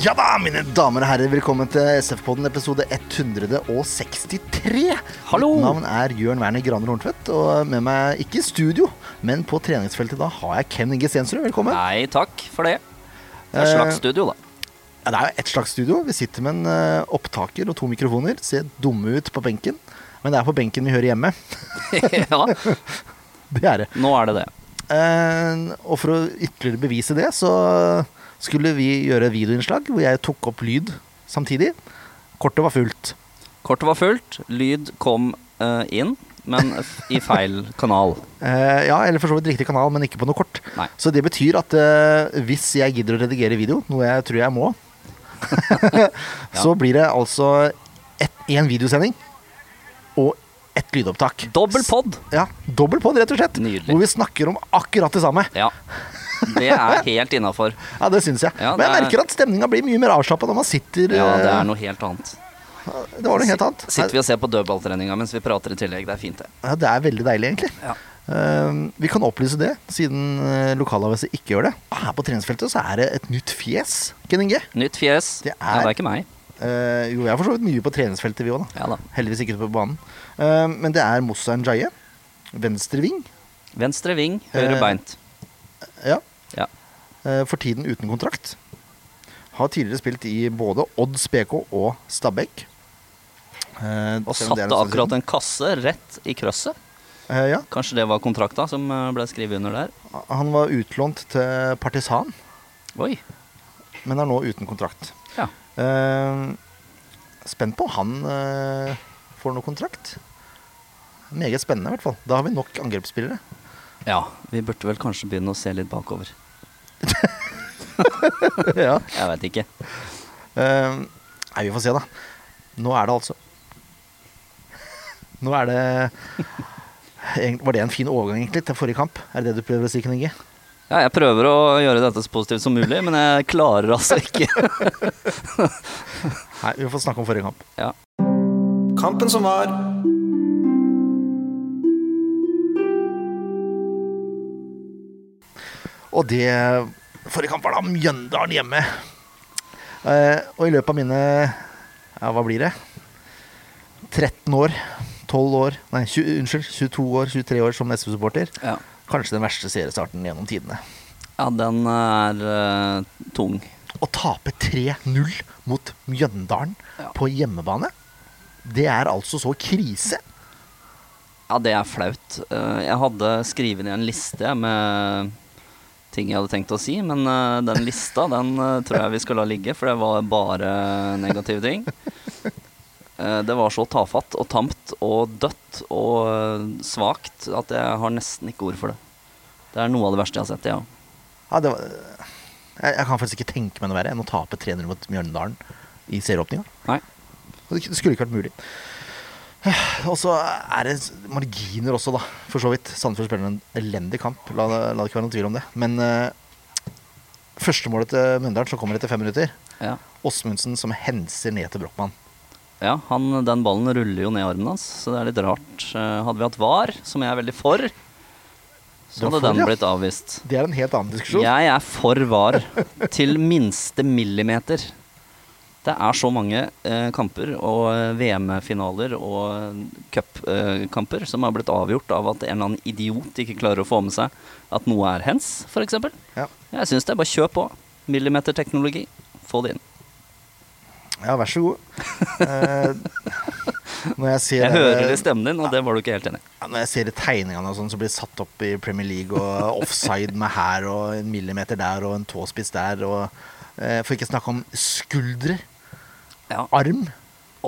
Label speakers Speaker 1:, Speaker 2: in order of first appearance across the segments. Speaker 1: Ja da, mine damer og herrer, velkommen til SF-podden episode 163.
Speaker 2: Hallo!
Speaker 1: Mitt navn er Jørn Werner Graner Horntvedt, og med meg ikke i studio, men på treningsfeltet da har jeg Ken Inge Stensrud. Velkommen.
Speaker 2: Nei, takk for det. Det er et
Speaker 1: Eh.
Speaker 2: slags studio, da.
Speaker 1: Ja, det er jo et slags studio. Vi sitter med en eh, opptaker og to mikrofoner. Ser dumme ut på benken, men det er på benken vi hører hjemme.
Speaker 2: ja,
Speaker 1: Det er det.
Speaker 2: nå er det det.
Speaker 1: Eh, og for å ytterligere bevise det, så skulle vi gjøre videoinnslag hvor jeg tok opp lyd samtidig. Kortet var fullt.
Speaker 2: Kortet var fullt, lyd kom eh, inn, men f- i feil kanal.
Speaker 1: Eh, ja, eller for så vidt riktig kanal, men ikke på noe kort.
Speaker 2: Nei.
Speaker 1: Så det betyr at eh, hvis jeg gidder å redigere video, noe jeg tror jeg må, så blir det altså én videosending og ett lydopptak.
Speaker 2: Dobbel
Speaker 1: S-
Speaker 2: pod!
Speaker 1: Ja, dobbel pod, rett og slett.
Speaker 2: Nydelig.
Speaker 1: Hvor vi snakker om akkurat det samme.
Speaker 2: Ja. Det er helt innafor.
Speaker 1: Ja, Det syns jeg.
Speaker 2: Ja,
Speaker 1: Men jeg
Speaker 2: det er-
Speaker 1: merker at stemninga blir mye mer avslappa når man sitter
Speaker 2: Ja, det
Speaker 1: eh,
Speaker 2: er noe helt annet.
Speaker 1: Det var noe helt annet.
Speaker 2: Sitter vi og ser på dødballtreninga mens vi prater i tillegg. Det er fint, det.
Speaker 1: Ja, det er veldig deilig, egentlig.
Speaker 2: Ja.
Speaker 1: Eh, vi kan opplyse det, siden uh, lokalavisen ikke gjør det. Her på treningsfeltet så er det et nytt fjes, Ken Inge.
Speaker 2: Nytt fjes.
Speaker 1: Det er-
Speaker 2: Ja, det er ikke meg.
Speaker 1: Eh, jo, jeg har for så vidt mye på treningsfeltet, vi òg, da.
Speaker 2: Ja da.
Speaker 1: Heldigvis ikke på banen. Eh, men det er Moussa Njaye. Venstreving.
Speaker 2: Venstre ving, høyre
Speaker 1: Eh,
Speaker 2: beint.
Speaker 1: Ja.
Speaker 2: Ja.
Speaker 1: Eh, for tiden uten kontrakt. Har tidligere spilt i både Odds BK og Stabæk. Eh,
Speaker 2: Og
Speaker 1: selv om det er
Speaker 2: satte
Speaker 1: en stund
Speaker 2: akkurat
Speaker 1: siden.
Speaker 2: en kasse rett i krøsset.
Speaker 1: Eh, ja.
Speaker 2: Kanskje det var kontrakta som eh, ble skrevet under der.
Speaker 1: Han var utlånt til Partisan,
Speaker 2: Oi.
Speaker 1: men er nå uten kontrakt.
Speaker 2: Ja.
Speaker 1: Eh, spent på om han eh, får noe kontrakt. Meget spennende, i hvert fall. Da har vi nok angrepsspillere.
Speaker 2: Ja, vi burde vel kanskje begynne å se litt bakover.
Speaker 1: ja.
Speaker 2: Jeg veit ikke.
Speaker 1: Eh, nei, vi får se, da. Nå er det altså Nå er det Egentlig- Var det en fin overgang, egentlig, til forrige kamp? Er det det du prøver å si, Ken Inge?
Speaker 2: Ja, jeg prøver å gjøre dette så positivt som mulig, men jeg klarer altså ikke.
Speaker 1: Nei, vi får snakke om forrige kamp.
Speaker 2: Ja.
Speaker 3: Kampen som var.
Speaker 1: Og det Forrige kamp var da Mjøndalen hjemme. Eh, og i løpet av mine Ja, hva blir det? 13 år. 12 år Nei, 20, unnskyld. 22 år, 23 år som SV-supporter.
Speaker 2: Ja,
Speaker 1: Kanskje den verste seriestarten gjennom tidene.
Speaker 2: den er eh, tung.
Speaker 1: Å tape 3-0 mot Mjøndalen
Speaker 2: Ja.
Speaker 1: på hjemmebane, det er altså så krise.
Speaker 2: Ja, det er flaut. Eh, jeg hadde skrevet ned en liste med ting jeg hadde tenkt å si, men eh, den lista den eh, tror jeg vi skal la ligge, for det var bare negative ting. Eh, det var så tafatt og tamt og dødt og eh, svakt at jeg har nesten ikke ord for det. Det er noe av det verste jeg har sett, ja.
Speaker 1: Ja, det var, jeg, jeg kan faktisk ikke tenke meg noe verre enn å tape 3-0 mot Mjøndalen i serieåpninga.
Speaker 2: Nei.
Speaker 1: Og Det skulle ikke vært mulig. Og så er det marginer også, da. For så vidt. Sandefjord spiller en elendig kamp. La, det- la det ikke være noen tvil om det. Men eh, første målet til Mjøndalen, som kommer etter fem minutter
Speaker 2: ja.
Speaker 1: Åsmundsen som henser ned til Brochmann.
Speaker 2: Ja, han, den ballen ruller jo ned i armen hans, så det er litt rart. Eh, hadde vi hatt VAR, som jeg er veldig for,
Speaker 1: Du
Speaker 2: så
Speaker 1: er
Speaker 2: hadde
Speaker 1: for,
Speaker 2: den
Speaker 1: ja.
Speaker 2: blitt avvist.
Speaker 1: Det er en helt annen diskusjon.
Speaker 2: Jeg er for VAR, til minste millimeter. Det er så mange eh, kamper og eh, VM-finaler og cupkamper som har blitt avgjort av at en eller annen idiot ikke klarer å få med seg at noe er hens, f.eks.
Speaker 1: Ja.
Speaker 2: Jeg syns det. Bare kjør på. Millimeterteknologi. Få det inn.
Speaker 1: ja, vær så god. Eh, når jeg ser
Speaker 2: Jeg hører det i stemmen din, og det var du ikke helt enig i.
Speaker 1: Ja, Når jeg ser de tegningene og sånn som blir satt opp i Premier League, og offside med her og en millimeter der og en tåspiss der, og eh, for ikke snakke om skuldre,
Speaker 2: Ja.
Speaker 1: arm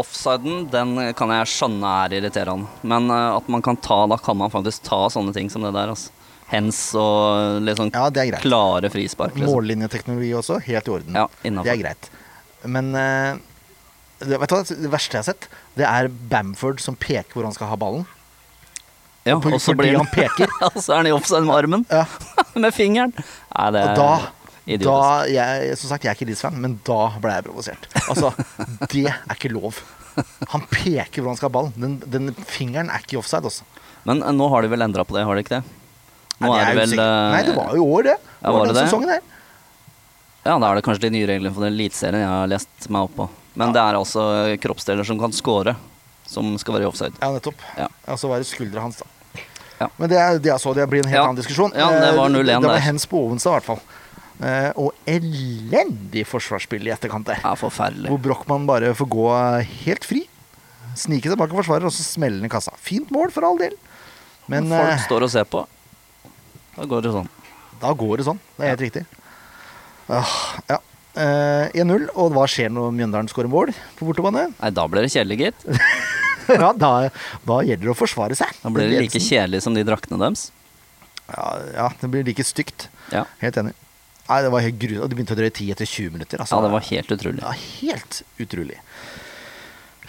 Speaker 2: Offsiden den kan jeg skjønne er irriterende, men eh, at man kan ta, da kan man faktisk ta sånne ting som det der. altså. Hens og litt sånn
Speaker 1: Ja, det er greit.
Speaker 2: klare frispark. Liksom.
Speaker 1: Mållinjeteknologi også, helt i orden.
Speaker 2: Ja, innenfor.
Speaker 1: det er greit. Men eh, det, vet du hva, det verste jeg har sett, det er Bamford som peker hvor han skal ha ballen.
Speaker 2: Ja,
Speaker 1: For-
Speaker 2: og så
Speaker 1: fordi
Speaker 2: blir
Speaker 1: han peker.
Speaker 2: ja, så er han i offside med armen.
Speaker 1: Ja.
Speaker 2: med fingeren. Nei, det
Speaker 1: Og
Speaker 2: er
Speaker 1: da, da
Speaker 2: idiotisk.
Speaker 1: jeg, Som sagt, jeg er ikke Leeds-fan, men da ble jeg provosert. Altså, det er ikke lov. Han peker hvor han skal ha ballen. Den, den fingeren er ikke i offside, altså.
Speaker 2: Men eh, nå har de vel endra på det, har de ikke det? Nå
Speaker 1: Nei,
Speaker 2: er
Speaker 1: jeg
Speaker 2: det vel
Speaker 1: usikker.
Speaker 2: eh,
Speaker 1: Nei, det var jo i år, det.
Speaker 2: Ja, var
Speaker 1: den
Speaker 2: det det?
Speaker 1: sesongen her.
Speaker 2: Ja, da er det kanskje de nye reglene for den eliteserien jeg har lest meg opp på. Men det er altså kroppsdeler som kan score, som skal være i offside.
Speaker 1: Ja, nettopp.
Speaker 2: Ja.
Speaker 1: Ja, så var det skuldra hans, da.
Speaker 2: Ja.
Speaker 1: Men det, er- det jeg så, det blir en helt
Speaker 2: Ja.
Speaker 1: annen diskusjon.
Speaker 2: Ja, det var
Speaker 1: Eh,
Speaker 2: 0-1
Speaker 1: Det
Speaker 2: der.
Speaker 1: var hens på Ovenstad, i hvert fall. Eh, Og elendig forsvarsspill i etterkant der.
Speaker 2: Ja, forferdelig.
Speaker 1: Hvor Brochmann bare får gå helt fri. Snike seg bak en forsvarer, og så smelle den i kassa. Fint mål, for all del. Men eh,
Speaker 2: Folk står og ser på. Da går det sånn.
Speaker 1: da går det sånn. Det er helt riktig. Åh, ja. Eh, 1-0, og hva skjer når Mjøndalen skårer mål på bortebane?
Speaker 2: Nei, da blir det kjedelig, gitt.
Speaker 1: ja, da, da gjelder det å forsvare seg.
Speaker 2: Da blir det like
Speaker 1: Ledelsen-
Speaker 2: kjedelig som de draktene deres.
Speaker 1: ja, ja, det blir like stygt.
Speaker 2: Ja.
Speaker 1: Helt enig. Nei, det var helt gru... Det begynte å drøye 10 etter 20 minutter. Altså.
Speaker 2: ja, det var helt utrolig.
Speaker 1: Ja, helt utrolig.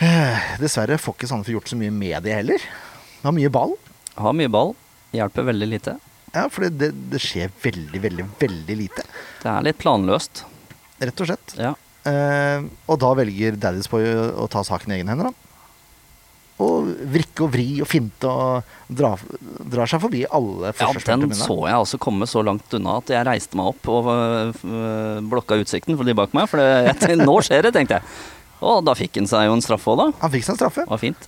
Speaker 1: Eh, Dessverre får ikke Sandefjord gjort så mye med det heller. Det har mye ball.
Speaker 2: Har mye ball, hjelper veldig lite.
Speaker 1: Ja, for det, det, det skjer veldig, veldig, veldig lite.
Speaker 2: Det er litt planløst.
Speaker 1: Rett og slett.
Speaker 2: Ja.
Speaker 1: Eh, og da velger Daddies Boy å, å ta saken i egne hender, da. Og vrikke og vri og finte og dra, drar seg forbi alle
Speaker 2: Ja, den
Speaker 1: forsvarsspillerne.
Speaker 2: så jeg altså komme så langt unna at jeg reiste meg opp og øh, øh, blokka utsikten for de bak meg. For det, jeg, nå skjer det, tenkte jeg. Og da fikk han seg jo en straffe òg, da.
Speaker 1: Han fikk seg en straffe.
Speaker 2: Det var fint.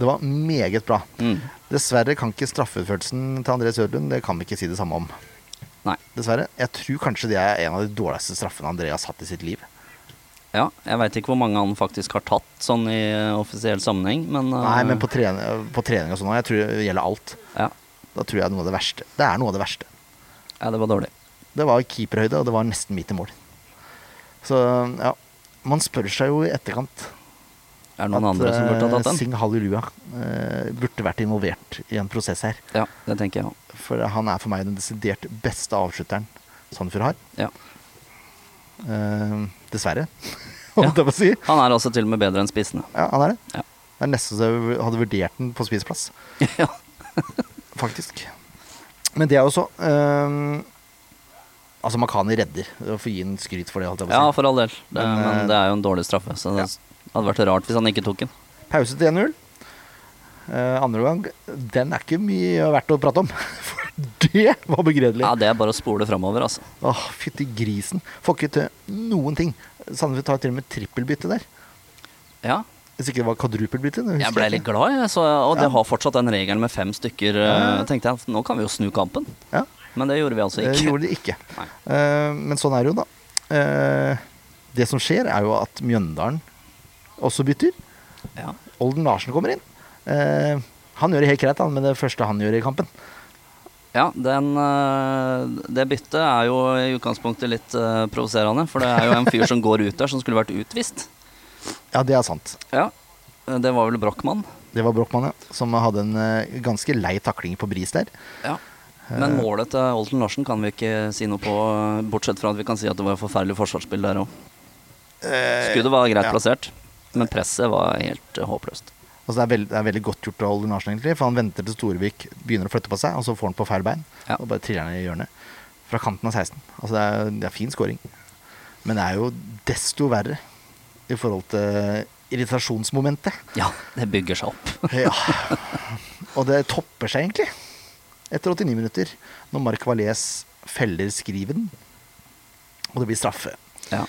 Speaker 1: Det var meget bra.
Speaker 2: Mm.
Speaker 1: Dessverre kan ikke straffeutførelsen til André Sørlund Det kan vi ikke si det samme om.
Speaker 2: Nei.
Speaker 1: Dessverre. Jeg tror kanskje det er en av de dårligste straffene André har satt i sitt liv.
Speaker 2: Ja, jeg veit ikke hvor mange han faktisk har tatt sånn i øh, offisiell sammenheng, men øh,
Speaker 1: Nei, men på trening, på trening og sånn òg. Jeg tror det gjelder alt.
Speaker 2: ja.
Speaker 1: Da tror jeg det er noe av det verste. Det er noe av det verste.
Speaker 2: ja, det var dårlig.
Speaker 1: Det var keeperhøyde, og det var nesten midt i mål. Så ja. Man spør seg jo i etterkant
Speaker 2: Er det noen andre som burde ha
Speaker 1: eh,
Speaker 2: tatt den?
Speaker 1: Singh Hallelujah eh, burde vært involvert i en prosess her.
Speaker 2: Ja, det tenker jeg òg.
Speaker 1: For han er for meg den desidert beste avslutteren Sandefjord har.
Speaker 2: Ja.
Speaker 1: Eh, dessverre,
Speaker 2: Ja.
Speaker 1: holdt jeg på å si.
Speaker 2: Han er altså til og med bedre enn spissene.
Speaker 1: Ja, han er det.
Speaker 2: Ja.
Speaker 1: Det er nesten så jeg hadde vurdert den på spiseplass,
Speaker 2: ja.
Speaker 1: faktisk. Men det er jo så eh, Altså, Makani redder. Jeg får gi en skryt for det. holdt jeg på
Speaker 2: ja,
Speaker 1: å si.
Speaker 2: for all del. Det,
Speaker 1: Men, øh,
Speaker 2: men det er jo en dårlig straffe, så det hadde vært rart hvis han ikke tok den.
Speaker 1: Pause til 1-0. Eh, andre gang, den er ikke mye verdt å prate om. For det var begredelig.
Speaker 2: Ja, Det er bare å spole framover, altså.
Speaker 1: Åh, fytti grisen. Får ikke til noen ting. Sandefjord tar til og med trippelbytte der.
Speaker 2: Ja,
Speaker 1: Hvis ikke det var kvadrupelbytte. det husker
Speaker 2: Jeg ble
Speaker 1: ikke.
Speaker 2: litt glad, jeg, så, og det
Speaker 1: Ja.
Speaker 2: har fortsatt den regelen med fem stykker. eh, tenkte jeg, Nå kan vi jo snu kampen,
Speaker 1: Ja,
Speaker 2: men det gjorde vi altså
Speaker 1: det
Speaker 2: ikke.
Speaker 1: gjorde de ikke. Eh, men sånn er det jo, da. Eh, det som skjer, er jo at Mjøndalen også bytter.
Speaker 2: Ja.
Speaker 1: Olden Larsen kommer inn. Eh, han gjør det helt greit, han, men det første han gjør i kampen
Speaker 2: Ja, den, eh, det byttet er jo i utgangspunktet litt eh, provoserende, for det er jo en fyr som går ut der, som skulle vært utvist.
Speaker 1: Ja, det er sant.
Speaker 2: Ja, eh, Det var vel Brochmann.
Speaker 1: Det var Brochmann, ja. Som hadde en eh, ganske lei takling på bris der.
Speaker 2: Ja. Men
Speaker 1: Eh.
Speaker 2: målet til Olten Larsen kan vi ikke si noe på, eh, bortsett fra at vi kan si at det var forferdelig forsvarsspill der òg. Skuddet var greit
Speaker 1: Eh, ja.
Speaker 2: plassert, men presset var helt eh, håpløst.
Speaker 1: Altså, det, er veld, det er veldig godt gjort av Olden Larsen, egentlig. For han venter til Storevik begynner å flytte på seg, og så får han på feil bein.
Speaker 2: Ja.
Speaker 1: Og bare triller han i hjørnet. Fra kanten av 16. Altså, det er, det er fin scoring. Men det er jo desto verre i forhold til irritasjonsmomentet.
Speaker 2: Ja, det bygger seg opp.
Speaker 1: Ja. Og det topper seg, egentlig. Etter 89 minutter, når Mark Valais feller skriven, og det blir straffe.
Speaker 2: Ja.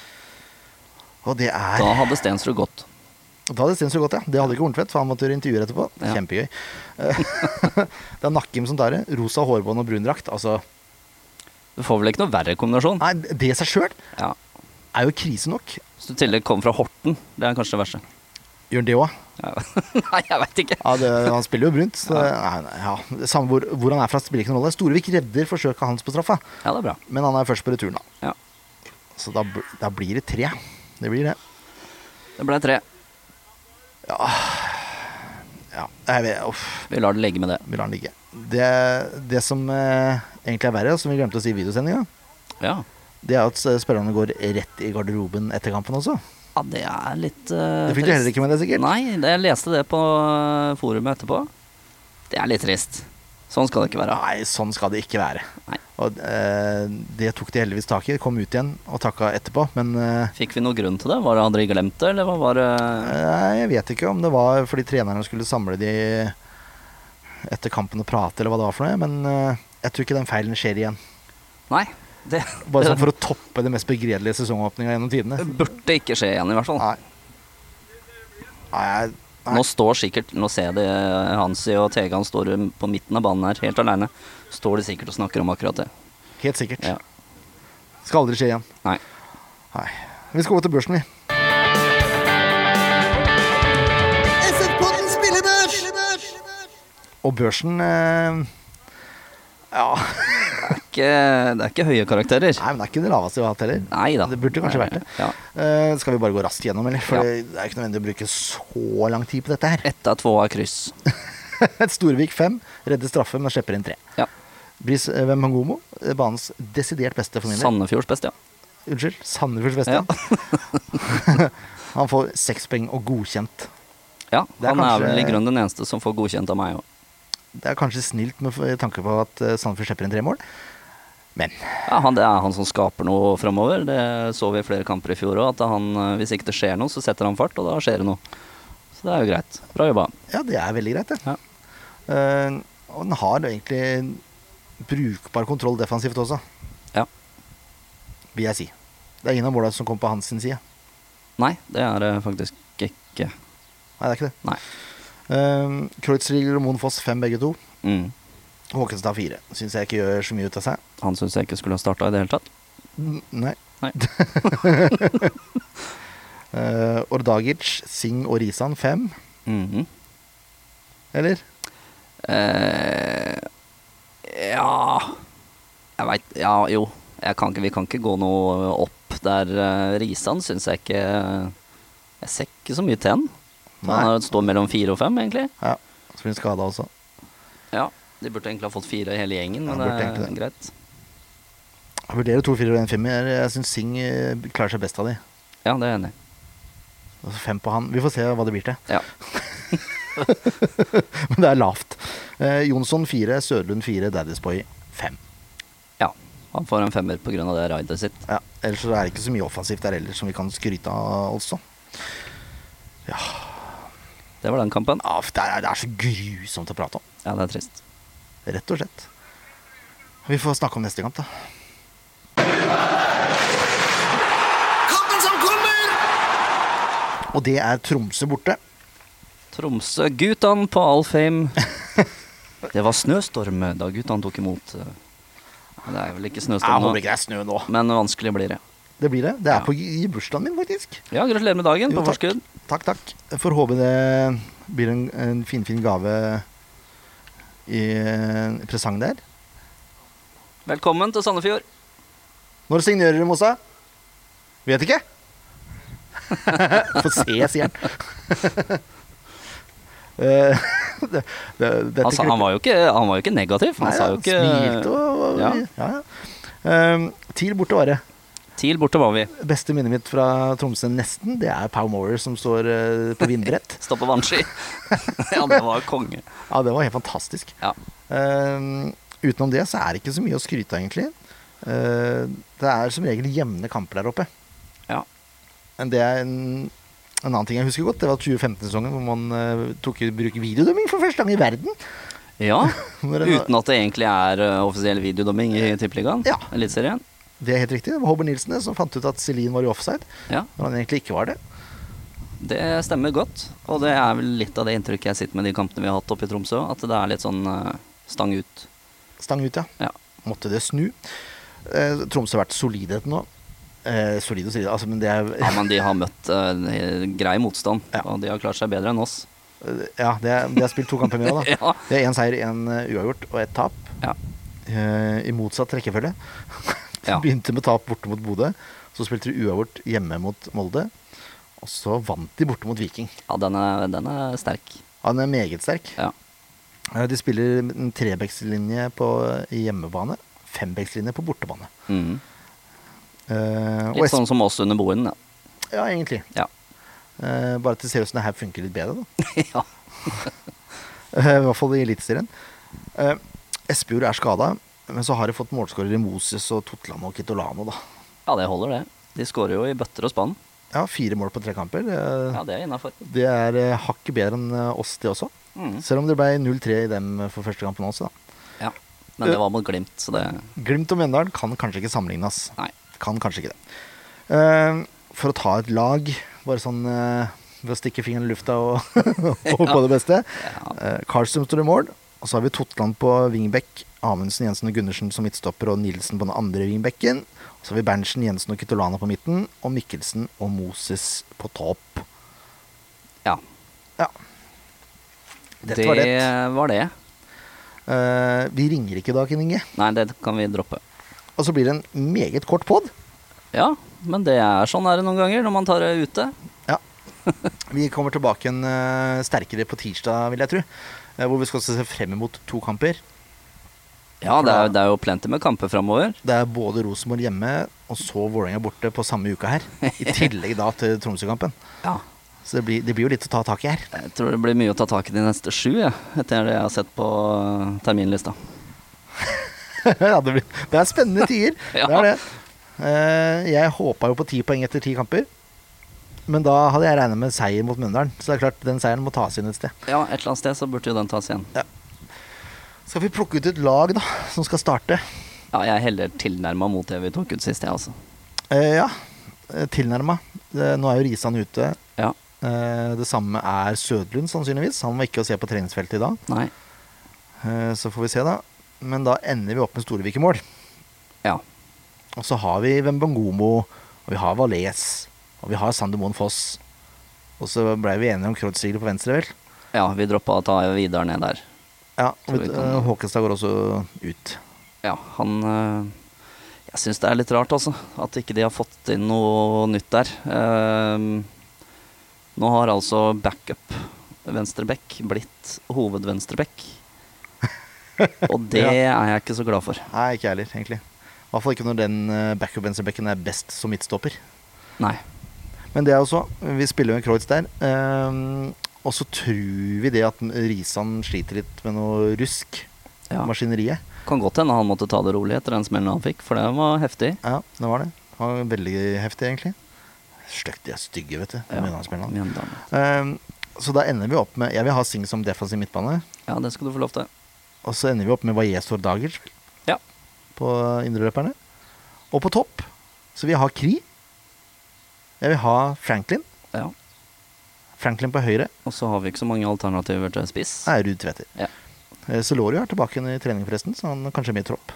Speaker 1: Og det er
Speaker 2: Da hadde Stensrud gått.
Speaker 1: Da hadde Stensrud gått, ja. Det hadde ikke Horntvedt, for han måtte gjøre intervjuer etterpå.
Speaker 2: Ja.
Speaker 1: Kjempegøy. Eh, det er Nakkim som tar det. Rosa hårbånd og brun drakt. Altså,
Speaker 2: Du får vel ikke noe verre kombinasjon?
Speaker 1: nei, det i seg sjøl
Speaker 2: Ja.
Speaker 1: er jo krise nok.
Speaker 2: Hvis du i tillegg kommer fra Horten, det er kanskje det verste.
Speaker 1: Gjør han det òg?
Speaker 2: Ja. Nei, jeg veit ikke.
Speaker 1: Ja, det, han spiller jo brunt. Så, nei, nei, ja. Samme hvor, hvor han er fra, spiller ikke noen rolle. Storevik redder forsøket hans på straffa,
Speaker 2: Ja, det er bra.
Speaker 1: men han er først på returen, da.
Speaker 2: Ja.
Speaker 1: Så da, bl- da blir det tre. Det blir det.
Speaker 2: Det ble tre.
Speaker 1: Ja. Jeg vet, uff.
Speaker 2: Vi lar det ligge med det.
Speaker 1: Vi lar den ligge. Det, det som eh, egentlig er verre, som vi glemte å si i videosendinga,
Speaker 2: Ja.
Speaker 1: det er at spillerne går rett i garderoben etter kampen også.
Speaker 2: ja, det er litt uh,
Speaker 1: Det fikk du heller ikke med deg, sikkert.
Speaker 2: Nei, det, jeg leste det på eh, forumet etterpå. Det er litt trist. Sånn skal det ikke være.
Speaker 1: Nei, sånn skal det ikke være.
Speaker 2: Nei.
Speaker 1: Og eh, Det tok de heldigvis tak i. Kom ut igjen og takka etterpå. Men eh,
Speaker 2: Fikk vi noen grunn til det? Var det hadde de glemt det, eller hva var det
Speaker 1: nei, jeg vet ikke om det var fordi trenerne skulle samle de etter kampen og prate, eller hva det var for noe. Men eh, jeg tror ikke den feilen skjer igjen.
Speaker 2: Nei, Det,
Speaker 1: Bare
Speaker 2: det
Speaker 1: sånn for å toppe den mest begredelige sesongåpninga gjennom tidene.
Speaker 2: burde ikke skje igjen, i hvert fall.
Speaker 1: Nei. Nei, jeg- Nei.
Speaker 2: Nå står sikkert Nå ser jeg det eh, Hansi og Tegan står på midten av banen her, helt aleine. Står de sikkert og snakker om akkurat det.
Speaker 1: helt sikkert.
Speaker 2: Ja.
Speaker 1: Skal aldri skje igjen.
Speaker 2: Nei.
Speaker 1: Nei. Vi skal gå til børsen, vi.
Speaker 4: SF-podden spillebørs!
Speaker 1: Og børsen eh, Ja.
Speaker 2: Ikke, det er ikke høye karakterer.
Speaker 1: Nei, men det er ikke det laveste vi har hatt heller.
Speaker 2: Nei da.
Speaker 1: Det burde kanskje vært det.
Speaker 2: Ja.
Speaker 1: Eh, skal vi bare gå raskt gjennom, eller? For
Speaker 2: Ja.
Speaker 1: det er ikke nødvendig å bruke så lang tid på dette her.
Speaker 2: Ett av två er kryss.
Speaker 1: Storvik fem, redder straffe, men slipper inn tre.
Speaker 2: Ja.
Speaker 1: Bris eh, Wembangomo, eh, banens desidert beste for min del.
Speaker 2: Sandefjords beste, ja.
Speaker 1: Unnskyld, Sandefjords beste.
Speaker 2: Ja.
Speaker 1: Han får seks poeng og godkjent.
Speaker 2: ja
Speaker 1: Det er
Speaker 2: han er
Speaker 1: kanskje-
Speaker 2: vel i grunnen den eneste som får godkjent av meg òg.
Speaker 1: Det er kanskje snilt med f- tanke på at eh, Sandefjord slipper inn tre mål, men
Speaker 2: Ja, han, det er han som skaper noe framover. Det så vi i flere kamper i fjor òg. At han, eh, hvis ikke det skjer noe, så setter han fart, og da skjer det noe. Så det er jo greit. Bra jobba.
Speaker 1: ja, det er veldig greit, det.
Speaker 2: Ja.
Speaker 1: Eh, og den har egentlig brukbar kontroll defensivt også,
Speaker 2: Ja.
Speaker 1: vil jeg si. Det er ingen av måla som kommer på hans sin side.
Speaker 2: Nei, det er det faktisk ikke.
Speaker 1: Nei, det er ikke det.
Speaker 2: Nei.
Speaker 1: Uh, Kreutzrigler og Moen Foss fem begge to.
Speaker 2: Mm.
Speaker 1: Håkenstad fire. Syns jeg ikke gjør så mye ut av seg.
Speaker 2: Han syns jeg ikke skulle ha starta i det hele tatt.
Speaker 1: N- Nei.
Speaker 2: Nei.
Speaker 1: Eh, Ordagic, Singh og Risan fem,
Speaker 2: Mhm.
Speaker 1: eller?
Speaker 2: eh, ja Jeg veit Ja, jo. Jeg kan ikke, vi kan ikke gå noe opp der. eh, Risan syns jeg ikke eh, Jeg ser ikke så mye til han.
Speaker 1: Nei.
Speaker 2: Han er- står mellom fire og fem, egentlig.
Speaker 1: Ja. Så blir han skada også.
Speaker 2: Ja, De burde egentlig ha fått fire i hele gjengen,
Speaker 1: Ja,
Speaker 2: men
Speaker 1: burde
Speaker 2: det er
Speaker 1: egentlig
Speaker 2: greit.
Speaker 1: Jeg vurderer to firere og en femmer. Jeg syns Singh eh, klarer seg best av de.
Speaker 2: Ja, det er jeg enig i.
Speaker 1: Altså fem på han. Vi får se hva det blir til.
Speaker 2: Ja.
Speaker 1: Men det er lavt. Eh, Jonsson fire, Sørlund fire, Daddysboy fem.
Speaker 2: ja. Han får en femmer pga. det raidet sitt.
Speaker 1: Ja. Ellers så er det ikke så mye offensivt der ellers som vi kan skryte av også.
Speaker 2: Det var den kampen.
Speaker 1: Ja, for det, er, det er så grusomt å prate om.
Speaker 2: Ja, det er trist.
Speaker 1: Rett og slett. Vi får snakke om neste kamp, da.
Speaker 4: Kampen som kommer!
Speaker 1: Og det er Tromsø borte.
Speaker 2: Tromsø, guttene på Alfheim. Det var snøstorm da guttene tok imot. eh, men Det er vel ikke
Speaker 1: Jeg
Speaker 2: snøstorm
Speaker 1: håper
Speaker 2: nå,
Speaker 1: ikke det er snø nå.
Speaker 2: men vanskelig blir det.
Speaker 1: Det blir det. Det er
Speaker 2: Ja.
Speaker 1: på i bursdagen min, faktisk.
Speaker 2: Ja, gratulerer med dagen
Speaker 1: Jo,
Speaker 2: på
Speaker 1: takk.
Speaker 2: forskudd.
Speaker 1: Takk, takk. Får håpe det blir en, en finfin fin gave i en presang der.
Speaker 2: Velkommen til Sandefjord.
Speaker 1: Når signerer du, Mossa? Vet ikke. Få se, sier han. Eh, det, det, dette
Speaker 2: Altså, han, var jo ikke, han var jo ikke negativ. Han
Speaker 1: Nei,
Speaker 2: sa jo ikke
Speaker 1: Smilte og, og ja.
Speaker 2: Ja.
Speaker 1: Ja, Ehm, TIL borte Are.
Speaker 2: TIL borte var vi.
Speaker 1: Beste minnet mitt fra Tromsø nesten, det er Pow Mower som står eh, på vindbrett.
Speaker 2: Stå på vannski. ja, det var konge.
Speaker 1: ja, det var helt fantastisk.
Speaker 2: Ja.
Speaker 1: Ehm, utenom det så er det ikke så mye å skryte av, egentlig. Ehm, det er som regel jevne kamper der oppe.
Speaker 2: ja.
Speaker 1: Men det er en, en annen ting jeg husker godt. Det var 2015-sesongen hvor man eh, tok i bruk videodømming for første gang i verden.
Speaker 2: ja.
Speaker 1: Når en-
Speaker 2: Uten at det egentlig er eh, offisiell videodomming i Tippeligaen.
Speaker 1: Ja.
Speaker 2: Eliteserien.
Speaker 1: Det er helt riktig. Det var Håber Nilsen det, som fant ut at Celine var i offside,
Speaker 2: Ja,
Speaker 1: når han egentlig ikke var det.
Speaker 2: det stemmer godt. Og det er vel litt av det inntrykket jeg sitter med de kampene vi har hatt oppe i Tromsø. At det er litt sånn eh, stang ut.
Speaker 1: Stang ut, ja.
Speaker 2: Ja.
Speaker 1: Måtte det snu. Eh, Tromsø har vært solide til nå. Eh, solide og solide, altså, men det er
Speaker 2: Ja, men de har møtt eh, grei motstand,
Speaker 1: Ja.
Speaker 2: og de har klart seg bedre enn oss.
Speaker 1: Ja, det er, det er spilt to kamper mer òg, da.
Speaker 2: Ja.
Speaker 1: Det er én seier, én uavgjort og ett tap.
Speaker 2: Ja.
Speaker 1: Eh, I motsatt rekkefølge.
Speaker 2: Ja.
Speaker 1: Begynte med tap borte mot Bodø. Så spilte de uavgjort hjemme mot Molde. Og så vant de borte mot Viking.
Speaker 2: Ja, den er, den er sterk.
Speaker 1: Han er meget sterk.
Speaker 2: Ja.
Speaker 1: Eh, De spiller en trebekslinje på hjemmebane. Fembekslinje på bortebane.
Speaker 2: Mm.
Speaker 1: Eh, og
Speaker 2: Litt
Speaker 1: Esp-
Speaker 2: sånn som oss under boen, ja.
Speaker 1: Ja, egentlig.
Speaker 2: Ja.
Speaker 1: Eh, bare at det ser ut som det her funker litt bedre, da.
Speaker 2: ja.
Speaker 1: Eh, I hvert fall i Eliteserien. Uh, Espejord er skada, men så har de fått målskårere Moses og Totland og Kitolano, da.
Speaker 2: ja, det holder, det. De skårer jo i bøtter og spann.
Speaker 1: Ja, fire mål på tre kamper. eh,
Speaker 2: Ja, det er innafor.
Speaker 1: Det er eh, hakket bedre enn eh, oss, det også.
Speaker 2: Mm.
Speaker 1: eh, Selv om det ble 0-3 i dem for første kampen også, da.
Speaker 2: Ja. men det var mot Glimt, så det
Speaker 1: Glimt og Mjøndalen kan kanskje ikke sammenlignes.
Speaker 2: Nei.
Speaker 1: Kan kanskje ikke det. Eh, for å ta et lag, bare sånn eh, ved å stikke fingeren i lufta og håpe på det beste. Eh, Karlstrøm står i mål, og så har vi Totland på wingback. Amundsen, Jensen og Gundersen som midtstopper og Nilsen på den andre wingbacken. Og så har vi Berntsen, Jensen og Kitolana på midten, og Mikkelsen og Moses på topp.
Speaker 2: Ja.
Speaker 1: Ja. Dette var det.
Speaker 2: var det.
Speaker 1: Eh, vi ringer ikke i dag, Ken Inge.
Speaker 2: Nei, det kan vi droppe.
Speaker 1: Og så blir det en meget kort pod.
Speaker 2: Ja, men det er sånn er det noen ganger når man tar det ute.
Speaker 1: Ja. Vi kommer tilbake igjen eh, sterkere på tirsdag, vil jeg tro. Eh, hvor vi skal se frem imot to kamper.
Speaker 2: Ja, det er, det er jo plenty med kamper framover.
Speaker 1: Det er både Rosenborg hjemme og så Vålerenga borte på samme uka her. I tillegg da til Tromsø-kampen.
Speaker 2: Ja.
Speaker 1: Så det blir, det blir jo litt å ta tak i her.
Speaker 2: Jeg tror det blir mye å ta tak i de neste sju, jeg, etter det jeg har sett på øh, terminlista.
Speaker 1: ja, det, blir, det er spennende tider.
Speaker 2: Ja.
Speaker 1: Det er det. Eh, jeg håpa jo på ti poeng etter ti kamper. Men da hadde jeg regna med seier mot Mjøndalen. Så det er klart, den seieren må tas inn et sted.
Speaker 2: Ja, et eller annet sted så burde jo den tas igjen.
Speaker 1: Skal vi plukke ut et lag, da, som skal starte?
Speaker 2: Ja, jeg heller tilnærma mot det vi tok ut sist, jeg, altså.
Speaker 1: Eh, ja, tilnærma. Nå er jo Risan ute.
Speaker 2: Ja.
Speaker 1: Eh, Det samme er Sødlund, sannsynligvis. Han var ikke å se på treningsfeltet i dag.
Speaker 2: Nei.
Speaker 1: Eh, Så får vi se, da. Men da ender vi opp med Storevik i mål.
Speaker 2: Ja.
Speaker 1: Og så har vi Wembangomo, og vi har Valais, og vi har Sander Moen Foss. Og så blei vi enige om Krohdstigler på venstre, vel.
Speaker 2: Ja, vi droppa å ta videre ned der.
Speaker 1: Ja,
Speaker 2: Så
Speaker 1: og
Speaker 2: vi
Speaker 1: vi-
Speaker 2: kan-
Speaker 1: eh, Håkenstad går også ut.
Speaker 2: Ja, han øh, Jeg syns det er litt rart, altså. At ikke de har fått inn noe nytt der. Ehm, nå har altså backup venstreback blitt hovedvenstreback. Og det er jeg ikke så glad for.
Speaker 1: Nei, ikke jeg heller, egentlig. I hvert fall ikke når den eh, backup-venstrebacken er best som midtstopper.
Speaker 2: Nei.
Speaker 1: Men det er også, vi spiller jo en Kreutz der. ehm, og så tror vi det at Risan sliter litt med noe rusk.
Speaker 2: Ja.
Speaker 1: Maskineriet.
Speaker 2: Kan godt hende han måtte ta det rolig etter den smellen han fikk, for den var heftig.
Speaker 1: Ja, det var det. Det var veldig heftig, egentlig. Stygt, de er stygge, vet du.
Speaker 2: Ja,
Speaker 1: Mjøndalen-spillerne.
Speaker 2: Mjøndalen.
Speaker 1: Ehm, så da ender vi opp med Jeg vil ha Sing som defensiv midtbane.
Speaker 2: Ja, det skal du få lov til.
Speaker 1: Og så ender vi opp med Wajez Dager
Speaker 2: Ja.
Speaker 1: på indreløperne. Og på topp så vil jeg ha Kri. Jeg vil ha Franklin.
Speaker 2: ja.
Speaker 1: Franklin på høyre
Speaker 2: Og så har vi ikke så mange alternativer til spiss.
Speaker 1: er Ruud Tveter.
Speaker 2: Ja.
Speaker 1: Eh, Celorio er tilbake igjen i trening, forresten, så han er kanskje med i tropp.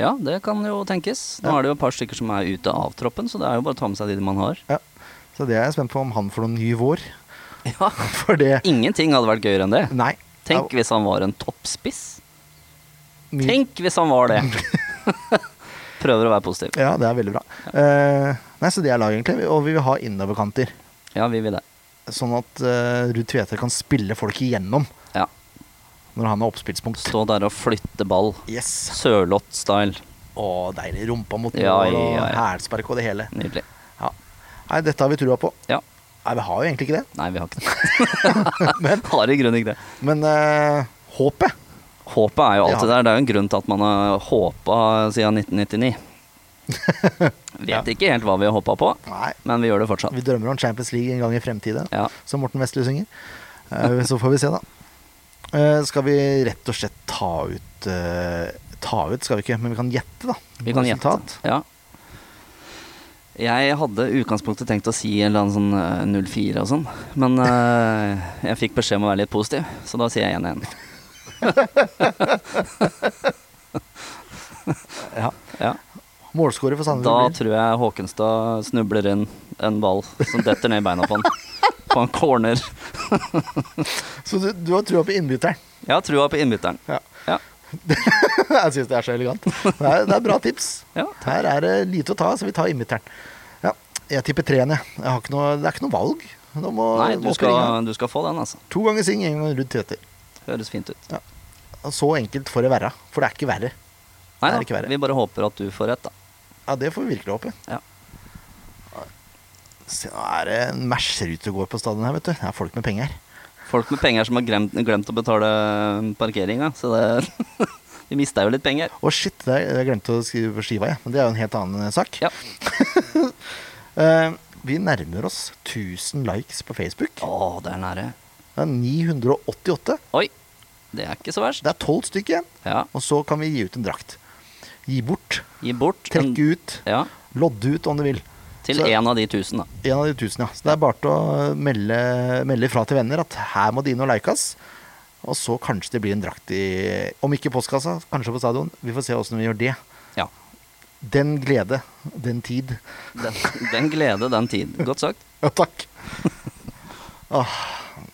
Speaker 2: ja, det kan jo tenkes. Nå
Speaker 1: Ja.
Speaker 2: er det jo et par stykker som er ute av troppen, så det er jo bare å ta med seg de man har.
Speaker 1: Ja. Så det er jeg spent på om han får noen ny vår.
Speaker 2: Ja.
Speaker 1: For det
Speaker 2: Ingenting hadde vært gøyere enn det.
Speaker 1: Nei.
Speaker 2: Tenk
Speaker 1: Ja,
Speaker 2: hvis han var en toppspiss.
Speaker 1: mye-
Speaker 2: Tenk hvis han var det! Prøver å være positiv.
Speaker 1: Ja, det er veldig bra. Eh, nei, Så det er laget, egentlig. Og vi vil ha innoverkanter.
Speaker 2: Ja, vi vil det.
Speaker 1: Sånn at uh, Ruud Tveter kan spille folk igjennom
Speaker 2: Ja.
Speaker 1: når han er oppspillspunkt.
Speaker 2: Stå der og flytte ball.
Speaker 1: Yes.
Speaker 2: Sørloth-style.
Speaker 1: Å, deilig. Rumpa mot mål
Speaker 2: Ja,
Speaker 1: og
Speaker 2: ja, ja.
Speaker 1: hælspark og det hele.
Speaker 2: Nydelig.
Speaker 1: Ja. Nei, dette har vi trua på.
Speaker 2: Ja.
Speaker 1: Nei, vi har jo egentlig ikke det.
Speaker 2: Nei, vi har ikke det. har i grunnen ikke det.
Speaker 1: Men eh, håpet
Speaker 2: Håpet er jo alltid
Speaker 1: Ja.
Speaker 2: der. Det er jo en grunn til at man har håpa siden 1999. Vet ikke helt hva vi har håpa på,
Speaker 1: Nei.
Speaker 2: men vi gjør det
Speaker 1: Vi
Speaker 2: fortsatt.
Speaker 1: drømmer om Champions League en gang i fremtiden,
Speaker 2: Ja.
Speaker 1: som Morten Vestli synger. Eh, Så får vi se, da. Eh, Skal vi rett og slett ta ut eh, Ta ut skal vi ikke, men vi kan gjette, da.
Speaker 2: Vi kan gjette.
Speaker 1: Resultat.
Speaker 2: Ja. Jeg hadde i utgangspunktet tenkt å si en eller annen sånn eh, 04 og sånn, men eh, jeg fikk beskjed om å være litt positiv, så da sier jeg 1-1.
Speaker 1: Ja.
Speaker 2: Ja.
Speaker 1: Målskårer for
Speaker 2: Da
Speaker 1: Sandefjord. blir-
Speaker 2: tror jeg Håkenstad snubler inn en ball som detter ned i beina på han. På en corner.
Speaker 1: Så du, du har trua på innbytteren.
Speaker 2: Jeg har trua på innbytteren.
Speaker 1: Ja.
Speaker 2: Ja.
Speaker 1: jeg syns det er så elegant. Det er, det er bra tips.
Speaker 2: Ja,
Speaker 1: Her er det lite å ta, så vi tar innbytteren. Ja, jeg tipper treene. Jeg har ikke noe, det er ikke noe valg. Nå må,
Speaker 2: Nei, du
Speaker 1: må springe.
Speaker 2: skal, du skal få den, altså.
Speaker 1: To ganger Sing, en gang Ruud Tveter.
Speaker 2: Høres fint ut.
Speaker 1: Så enkelt får det være. For det er ikke verre.
Speaker 2: Nei
Speaker 1: Det er ikke
Speaker 2: da,
Speaker 1: verre.
Speaker 2: vi bare håper at du får rett, da.
Speaker 1: Ja, det får vi virkelig håpe.
Speaker 2: Ja.
Speaker 1: Se, nå er det en Mercerud som går på stadion her, vet du. Det er folk med penger.
Speaker 2: Folk med penger som har glemt, glemt å betale parkeringa, så det Vi mista jo litt penger.
Speaker 1: Å, shit, det er, jeg glemte å skrive på skiva, jeg. Men det er jo en helt annen sak.
Speaker 2: Ja.
Speaker 1: Eh, vi nærmer oss 1000 likes på Facebook.
Speaker 2: Å, det er nære.
Speaker 1: Det er 988.
Speaker 2: Oi. Det er ikke så verst.
Speaker 1: Det er tolv stykker igjen,
Speaker 2: Ja.
Speaker 1: og så kan vi gi ut en drakt. Gi bort,
Speaker 2: Gi bort. en-
Speaker 1: trekke ut,
Speaker 2: Ja,
Speaker 1: lodde ut om du vil.
Speaker 2: til
Speaker 1: Så-
Speaker 2: en av de tusen, da.
Speaker 1: En av de tusen, ja. Så det er bare til å melde, melde fra til venner at her må de inn og leikes. Og så kanskje det blir en drakt i Om ikke i postkassa, kanskje på stadion. Vi får se åssen vi gjør det.
Speaker 2: Ja.
Speaker 1: Den glede, den tid.
Speaker 2: Den, den glede, den tid. Godt sagt.
Speaker 1: Ja, takk. Åh,